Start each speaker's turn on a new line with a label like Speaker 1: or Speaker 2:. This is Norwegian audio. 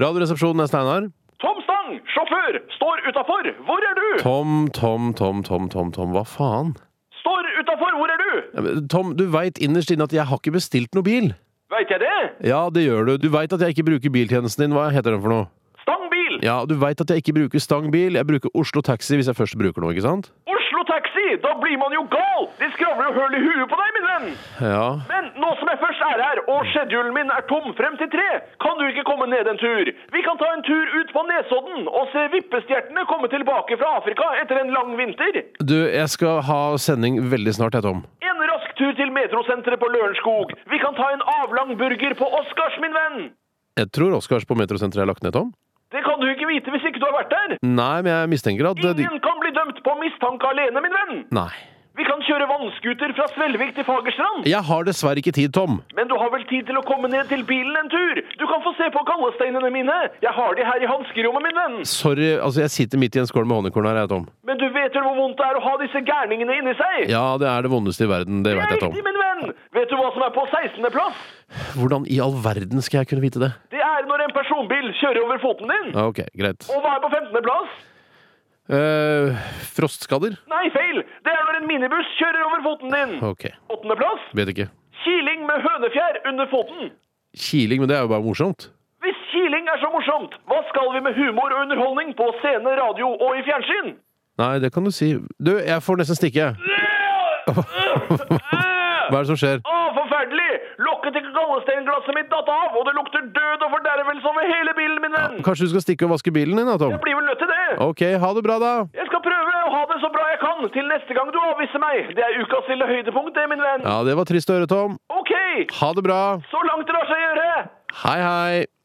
Speaker 1: Radioresepsjonen er Steinar.
Speaker 2: Tom Stang, sjåfør, står utafor! Hvor er du?
Speaker 1: Tom, Tom, Tom, Tom, Tom, Tom, hva faen?
Speaker 2: Står utafor, hvor er du?
Speaker 1: Ja, men Tom, du veit innerst inne at jeg har ikke bestilt noe bil.
Speaker 2: Veit jeg det?
Speaker 1: Ja, det gjør du. Du veit at jeg ikke bruker biltjenesten din. Hva heter den for noe?
Speaker 2: Stang bil!
Speaker 1: Ja, du veit at jeg ikke bruker Stang bil. Jeg bruker Oslo Taxi hvis jeg først bruker noe, ikke sant?
Speaker 2: Oslo Taxi! Da blir man jo gal! De skravler jo høl i huet på deg, min venn!
Speaker 1: Ja.
Speaker 2: Men nå som jeg først er her, og schedulen min er tom frem til tre, kan du ikke komme ned en tur? Vi kan ta en tur ut på Nesodden og se vippestjertene komme tilbake fra Afrika etter en lang vinter.
Speaker 1: Du, jeg skal ha sending veldig snart, jeg, Tom.
Speaker 2: En rask tur til metrosenteret på Lørenskog. Vi kan ta en avlang burger på Oscars, min venn.
Speaker 1: Jeg tror Oscars på Metrosenteret er lagt ned, Tom.
Speaker 2: Det kan du ikke vite hvis ikke du har vært der.
Speaker 1: Nei, men jeg mistenker at eh, de
Speaker 2: Ingen kan bli dømt på mistanke alene, min venn.
Speaker 1: Nei.
Speaker 2: Vi kan kjøre vannskuter fra Svelvik til Fagerstrand.
Speaker 1: Jeg har dessverre ikke tid, Tom.
Speaker 2: Men du har vel tid til å komme ned til bilen en tur? Du kan få se på gallesteinene mine. Jeg har de her i hanskerommet, min venn.
Speaker 1: Sorry, altså jeg sitter midt i en skål med honningkorn her, jeg, Tom.
Speaker 2: Men du vet vel hvor vondt det er å ha disse gærningene inni seg?
Speaker 1: Ja, det er det vondeste i verden, det
Speaker 2: Det
Speaker 1: veit
Speaker 2: er
Speaker 1: jeg, Tom.
Speaker 2: riktig, min venn! Vet du hva som er på 16. plass?
Speaker 1: Hvordan i all verden skal jeg kunne vite det?
Speaker 2: Det er når en personbil kjører over foten din.
Speaker 1: Ja, Ok, greit.
Speaker 2: Og hva er på 15. plass?
Speaker 1: Eh, frostskader?
Speaker 2: Nei, feil! Det er når en minibuss kjører over foten din.
Speaker 1: Ok,
Speaker 2: 8. plass?
Speaker 1: vet ikke.
Speaker 2: Kiling med hønefjær under foten.
Speaker 1: Kiling, men det er jo bare morsomt.
Speaker 2: Hvis kiling er så morsomt, hva skal vi med humor og underholdning på scene, radio og i fjernsyn?
Speaker 1: Nei, det kan du si. Du, jeg får nesten stikke. jeg. Hva er det som skjer?
Speaker 2: Å, Ah, forferdelig! Lokket ikke gallesteinglasset mitt datt av, og det lukter død og fordervelse over hele bilen, min venn!
Speaker 1: Kanskje du skal stikke og vaske bilen din da, Tom?
Speaker 2: Jeg blir vel nødt til det.
Speaker 1: Ok, ha det bra da.
Speaker 2: Jeg skal prøve å ha det så bra jeg kan til neste gang du avviser meg. Det er ukas lille høydepunkt, det, min venn.
Speaker 1: Ja, det var trist å høre, Tom.
Speaker 2: OK!
Speaker 1: Ha det bra.
Speaker 2: Så langt det lar seg gjøre.
Speaker 1: Hei, hei.